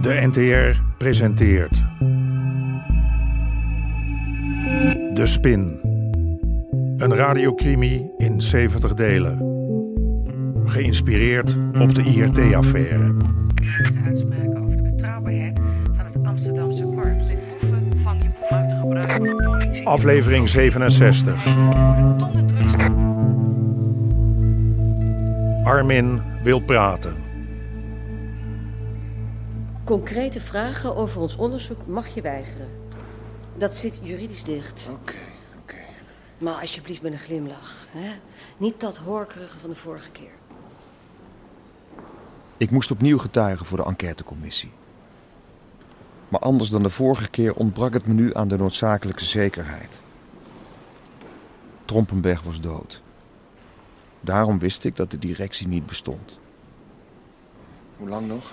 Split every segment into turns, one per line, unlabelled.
De NTR presenteert. De Spin. Een radiocrimi in 70 delen. Geïnspireerd op de IRT-affaire.
rare uitspraken over de betrouwbaarheid van het Amsterdamse korps. Dus De boeven van je boeven uit de gebruik van de politie.
Aflevering 67.
Worden tonnen drugs-
Armin wil praten.
Concrete vragen over ons onderzoek mag je weigeren. Dat zit juridisch dicht.
Oh.
Oké, oké.
Maar alsjeblieft met een glimlach. Hè? Niet dat horkerige van de vorige keer.
Ik moest opnieuw getuigen voor de enquêtecommissie. Maar anders dan de vorige keer ontbrak het me nu aan de noodzakelijke zekerheid. Trompenberg was dood. Daarom wist ik dat de directie niet bestond. Hoe lang nog?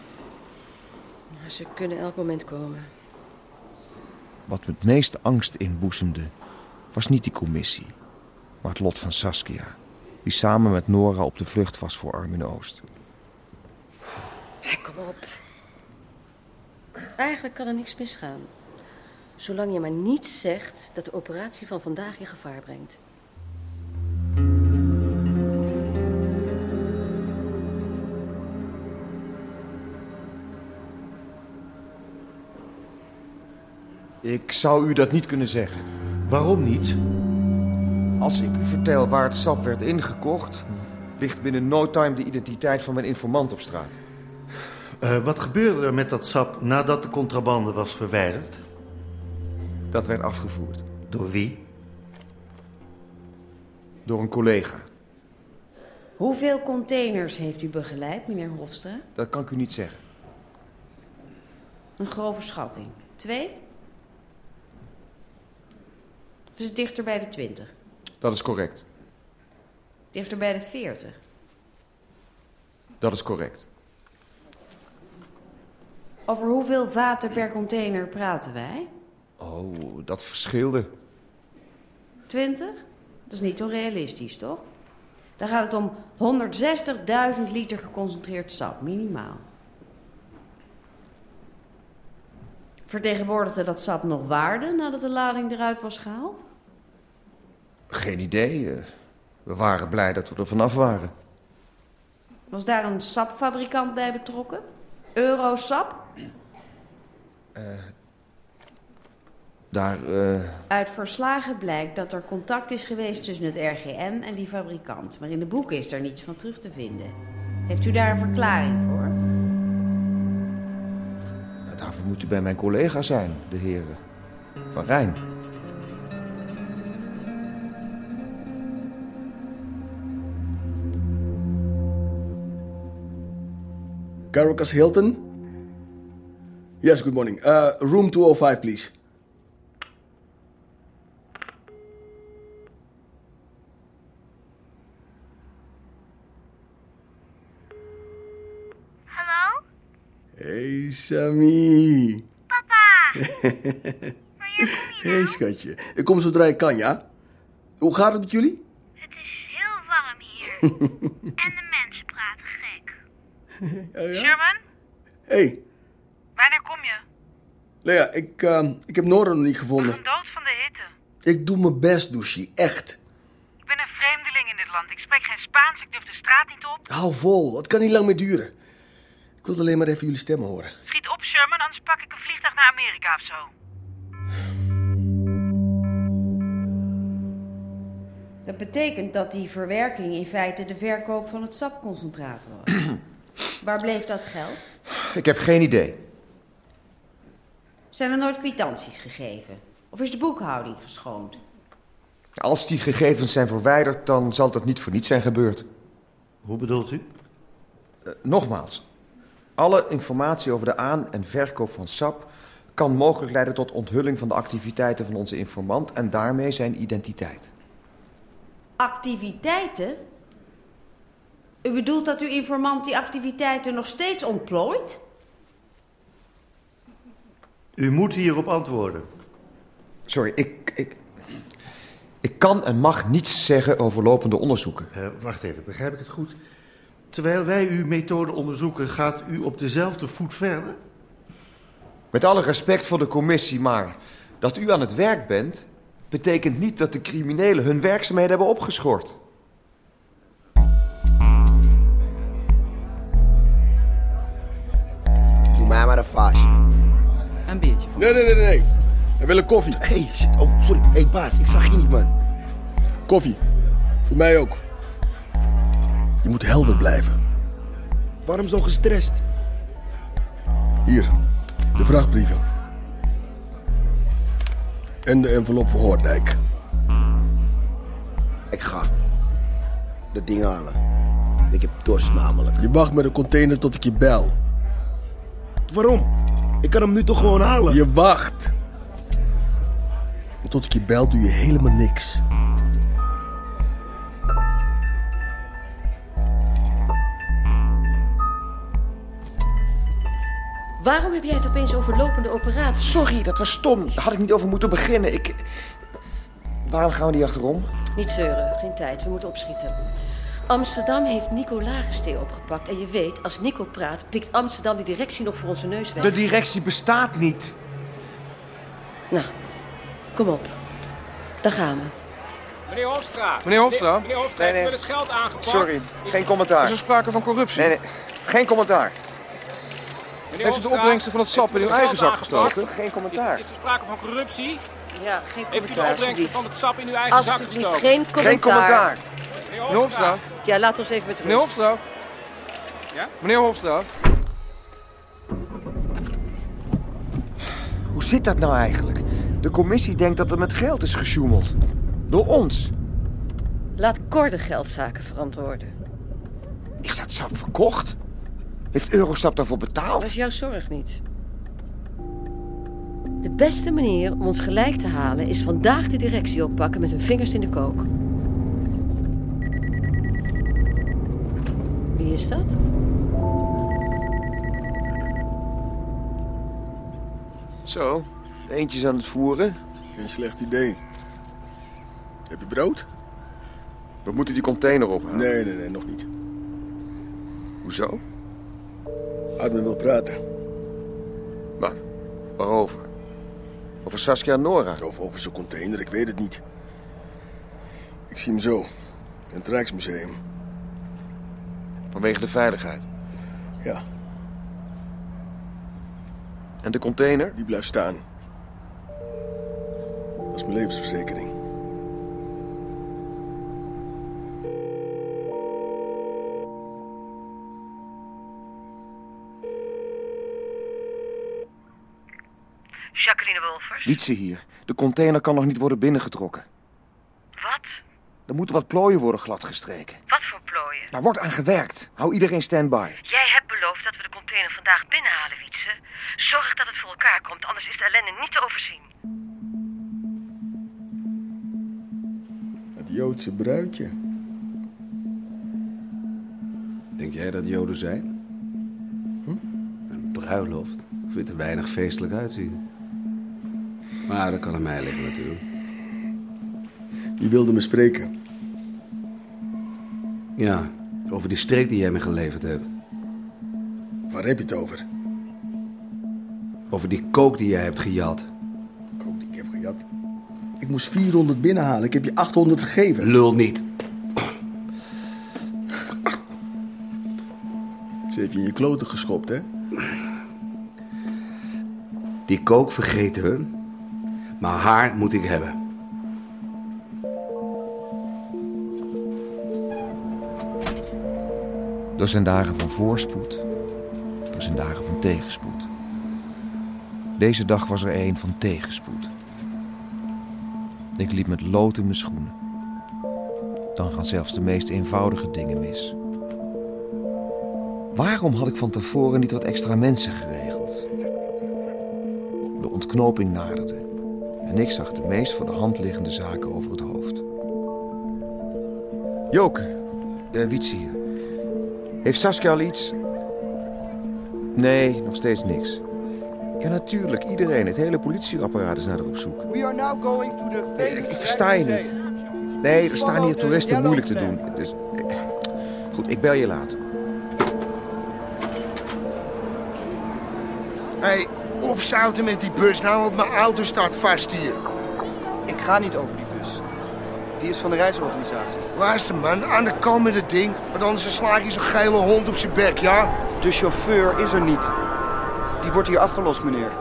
Ze kunnen elk moment komen.
Wat me het meeste angst inboezemde, was niet die commissie, maar het lot van Saskia, die samen met Nora op de vlucht was voor Armin Oost.
Hé, kom op. Eigenlijk kan er niks misgaan. Zolang je maar niet zegt dat de operatie van vandaag je gevaar brengt.
Ik zou u dat niet kunnen zeggen.
Waarom niet?
Als ik u vertel waar het sap werd ingekocht, ligt binnen no time de identiteit van mijn informant op straat.
Eh, wat gebeurde er met dat sap nadat de contrabande was verwijderd?
Dat werd afgevoerd
Door wie?
door een collega.
Hoeveel containers heeft u begeleid, meneer Hofstra?
Dat kan ik u niet zeggen.
Een grove schatting. Twee? Of is het dichter bij de twintig?
Dat is correct.
Dichter bij de veertig?
Dat is correct.
Over hoeveel vaten per container praten wij?
Oh, dat verschilde.
Twintig? Dat is niet onrealistisch, toch? Dan gaat het om 160.000 liter geconcentreerd sap, minimaal. Vertegenwoordigde dat sap nog waarde nadat de lading eruit was gehaald?
Geen idee. eh. We waren blij dat we er vanaf waren.
Was daar een sapfabrikant bij betrokken? Eurosap?
Daar, eh,
Uit verslagen blijkt dat er contact is geweest tussen het RGM en die fabrikant. Maar in de boeken is daar niets van terug te vinden. Heeft u daar een verklaring voor?
nou, daarvoor moet u bij mijn collega zijn, de heren. Van Rijn.
Caracas Hilton? Yes, good morning. Uh, room 205, please.
Hallo?
Hey, Sammy.
Papa! Wanneer kom je nou?
Hey, schatje. Ik kom zodra ik kan, ja? Hoe gaat het met jullie?
Het is heel warm hier. en de mensen praten gek. Sherman,
Hey,
wanneer kom je?
Lea, ik, ehm, ik heb Nora nog niet gevonden.
Dood van de hitte.
Ik doe mijn best, douchie. Echt.
Ik ben een vreemdeling in dit land. Ik spreek geen Spaans, ik durf de straat niet op.
Hou vol. Het kan niet lang meer duren. Ik wilde alleen maar even jullie stemmen horen.
Schiet op, Sherman, anders pak ik een vliegtuig naar Amerika of zo.
Dat betekent dat die verwerking in feite de verkoop van het sapconcentraat was. Waar bleef dat geld?
Ik heb geen idee.
Zijn er nooit kwitanties gegeven? Of is de boekhouding geschoond?
Als die gegevens zijn verwijderd, dan zal dat niet voor niets zijn gebeurd.
Hoe bedoelt u?
Nogmaals, alle informatie over de aan- en verkoop van SAP kan mogelijk leiden tot onthulling van de activiteiten van onze informant en daarmee zijn identiteit.
Activiteiten? U bedoelt dat uw informant die activiteiten nog steeds ontplooit?
U moet hierop antwoorden.
Sorry, ik, ik, ik kan en mag niets zeggen over lopende onderzoeken.
Eh, wacht even, begrijp ik het goed? Terwijl wij uw methode onderzoeken, gaat u op dezelfde voet verder?
Met alle respect voor de commissie, maar dat u aan het werk bent, betekent niet dat de criminelen hun werkzaamheden hebben opgeschort.
Doe mij maar een vaasje.
Een biertje voor.
Nee, nee, nee, nee, nee. We willen koffie.
hey, shit. Oh, sorry. Hé, hey, baas. Ik zag je niet, man.
Koffie. Voor mij ook. Je moet helder blijven.
Waarom zo gestrest?
Hier, de vrachtbrieven. En de envelop voor Hoordijk.
Ik ga. Dat ding halen. Ik heb dorst namelijk.
Je wacht met de container tot ik je bel.
Waarom? Ik kan hem nu toch gewoon halen?
Je wacht. En tot ik je bel doe je helemaal niks.
Waarom heb jij het opeens over lopende operatie?
Sorry, dat was stom. Daar had ik niet over moeten beginnen. Ik... Waarom gaan we niet achterom?
Niet zeuren, geen tijd. We moeten opschieten. Amsterdam heeft Nico Lagerstee opgepakt. En je weet, als Nico praat, pikt Amsterdam de directie nog voor onze neus weg.
De directie bestaat niet.
Nou, kom op. Daar gaan we.
Meneer Hofstra.
Meneer Hofstra?
Meneer, meneer Hofstra,
Nee,
heeft
nee.
wel eens geld aangepakt?
Sorry,
Is-
geen commentaar.
Is er sprake van corruptie?
Nee, nee, geen commentaar.
meneer
Heeft u de
Hofstra,
opbrengsten van het
heeft
sap
u
in uw
wel eens
eigen zak
geld aangepakt?
gestoken?
Geen
Is,
commentaar.
is er sprake van corruptie?
Ja, geen
Heeft u de opbrengsten van het sap in uw eigen zak
Alsjeblieft,
gestoken?
geen commentaar.
Geen commentaar.
Meneer
Meneer Hofstra?
Ja, laat ons even met rust.
Meneer Hofstra?
Ja?
Meneer Hofstra?
Hoe zit dat nou eigenlijk? De commissie denkt dat er met geld is gesjoemeld. Door ons.
Laat Cor de geldzaken verantwoorden.
Is dat sap verkocht? Heeft Eurostap daarvoor
Dat
betaald?
is jouw zorg niet. De beste manier om ons gelijk te halen is vandaag de directie oppakken met hun vingers in de kook. Wie is dat?
Zo, eentjes aan het voeren.
Geen slecht idee. Heb je brood?
We moeten die container ophalen.
Nee, nee, nee, nog niet.
Hoezo?
Armin wil praten.
Wat? Waarover? Over Saskia en Nora.
Of over zo'n container, ik weet het niet. Ik zie hem zo. In het Rijksmuseum.
Vanwege de veiligheid.
Ja,
En de container?
die blijft staan. Dat is mijn levensverzekering.
Jacqueline Wolfers.
Lietse hier. De container kan nog niet worden binnengetrokken.
Wat?
Er moeten wat plooien worden gladgestreken.
Wat voor plooien?
Daar wordt aan gewerkt. Hou iedereen stand-by.
Jij hebt beloofd dat we de container vandaag binnenhalen, Wietse. Zorg dat het voor elkaar komt, anders is de ellende niet te overzien.
Het Joodse bruidje.
Denk jij dat Joden zijn?
Hm?
Een bruiloft? Ik vind het er weinig feestelijk uitzien. Maar dat kan aan mij liggen natuurlijk.
Die wilde me spreken.
Ja, over die streek die jij me geleverd hebt.
Waar heb je het over?
Over die kook die jij hebt gejat.
Kook die ik heb gejat. Ik moest 400 binnenhalen. Ik heb je 800 gegeven.
Lul niet.
Ze heeft je in je kloten geschopt, hè?
Die kook vergeten we. Maar haar moet ik hebben.
Er zijn dagen van voorspoed. Er zijn dagen van tegenspoed. Deze dag was er een van tegenspoed. Ik liep met lood in mijn schoenen. Dan gaan zelfs de meest eenvoudige dingen mis. Waarom had ik van tevoren niet wat extra mensen geregeld? De ontknoping naderde en ik zag de meest voor de hand liggende zaken over het hoofd. Joke, uh, hier. Heeft Saskia al iets? Nee, nog steeds niks. Ja, natuurlijk. Iedereen. Het hele politieapparaat is naar haar op zoek. Eh,
We are now going to the
Ik, ik versta je niet. Nee, er staan hier toeristen moeilijk te doen. Dus... eh, Goed, ik bel je later. Hé, hey,
opzouten met die bus nou, want mijn auto staat vast hier.
Ik ga niet over die bus. Die is van de reisorganisatie.
Luister man, aan de kant met het ding, want anders sla ik je zo'n geile hond op zijn bek, ja?
De chauffeur is er niet. Die wordt hier afgelost, meneer.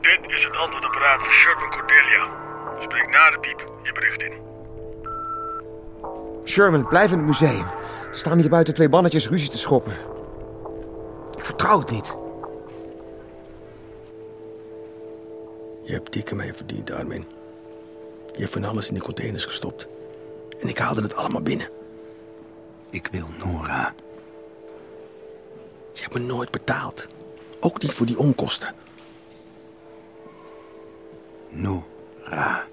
Dit is het antwoordapparaat voor Sherman Cordelia. Spreek na de piep je bericht in.
Sherman, blijf in het museum. Er staan hier buiten twee mannetjes ruzie te schoppen. Ik vertrouw het niet.
Je hebt dikke mij verdiend, Armin. Je hebt van alles in die containers gestopt. En ik haalde het allemaal binnen.
Ik wil Nora.
Je hebt me nooit betaald. Ook niet voor die onkosten.
Nora.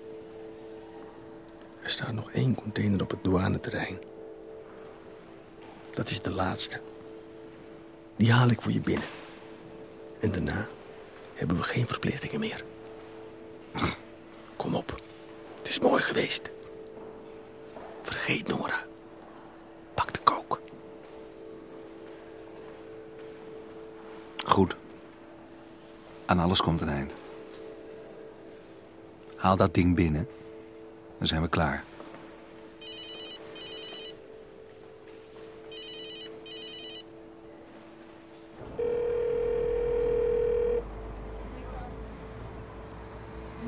Er staat nog één container op het douaneterrein. Dat is de laatste. Die haal ik voor je binnen. En daarna hebben we geen verplichtingen meer. Kom op. Het is mooi geweest. Vergeet Nora. Pak de kook.
Goed. Aan alles komt een eind. Haal dat ding binnen. Dan zijn we klaar.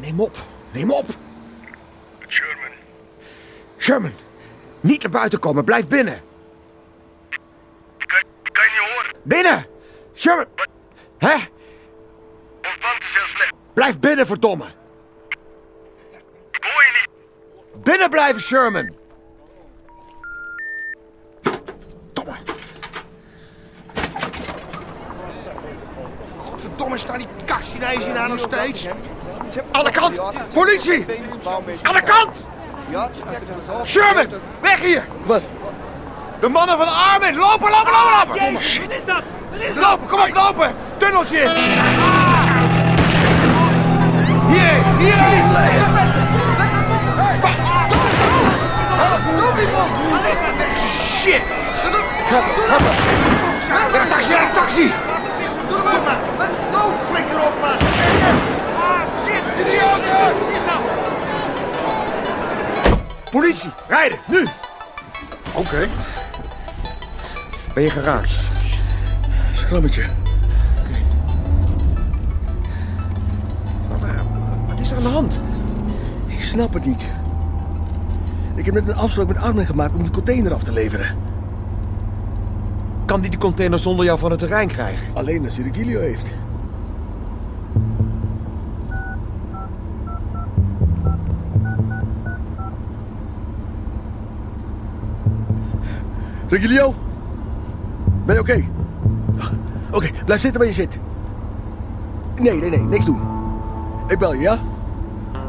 Neem op, neem op.
Sherman,
Sherman, niet naar buiten komen, blijf binnen.
kan, kan je horen?
Binnen! Sherman! Hè?
Ontvangt is heel slecht.
Blijf binnen, verdomme!
Ik hoor je niet.
Binnen blijven, Sherman!
Godverdomme, staan die kastineis hier nou nog steeds?
Aan de kant! Politie! Aan de kant! Sherman, weg hier! Wat? De mannen van Armin, lopen, lopen, lopen, lopen! Jezus, wat is dat? Lopen, kom op, lopen! Tunneltje in! Hier, hierheen! Shit! Help me, help me! Naar de taxi, naar de taxi!
Doe hem maar! No, flikker op man! Ah, shit! Idioten! Is dat?
Politie, rijden, nu! Oké. Ben je geraakt?
Schrammetje.
Wat is er aan de hand?
Ik snap het niet. Ik heb net een afspraak met Armin gemaakt om die container af te leveren.
Kan die de container zonder jou van het terrein krijgen?
Alleen als hij de Gilio heeft. Regilio? Ben je oké? Oké, blijf zitten waar je zit. Nee, nee, nee, niks doen. Ik bel je, ja?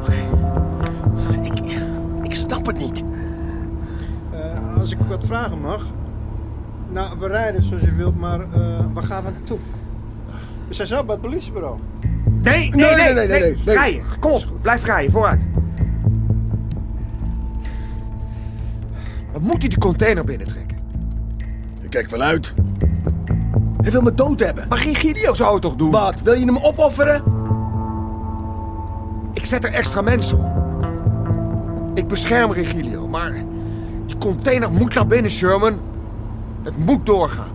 Oké. Ik, ik snap het niet.
Eh, als ik wat vragen mag. Nou, we rijden zoals je wilt, maar eh, waar gaan we naartoe? We zijn zo bij het politiebureau.
Nee, nee, nee, nee, nee, Rijden, kom op, blijf rijden, vooruit. Wat moet hij die container binnentrekken?
Ik kijk wel uit. Hij wil me dood hebben.
Maar Gigidio zou het toch doen?
Wat, wil je hem opofferen?
Ik zet er extra mensen op. Ik bescherm Regilio, maar die container moet naar binnen, Sherman. Het moet doorgaan.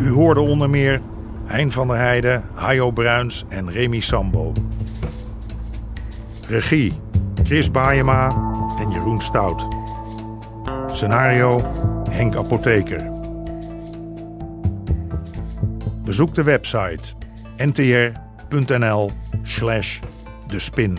U hoorde onder meer Hein van der Heijden, Hajo Bruins en Remy Sambo. Regie Chris Baayema en Jeroen Stout. Scenario Henk Apotheker. Bezoek de website ntr.nl slash de spin.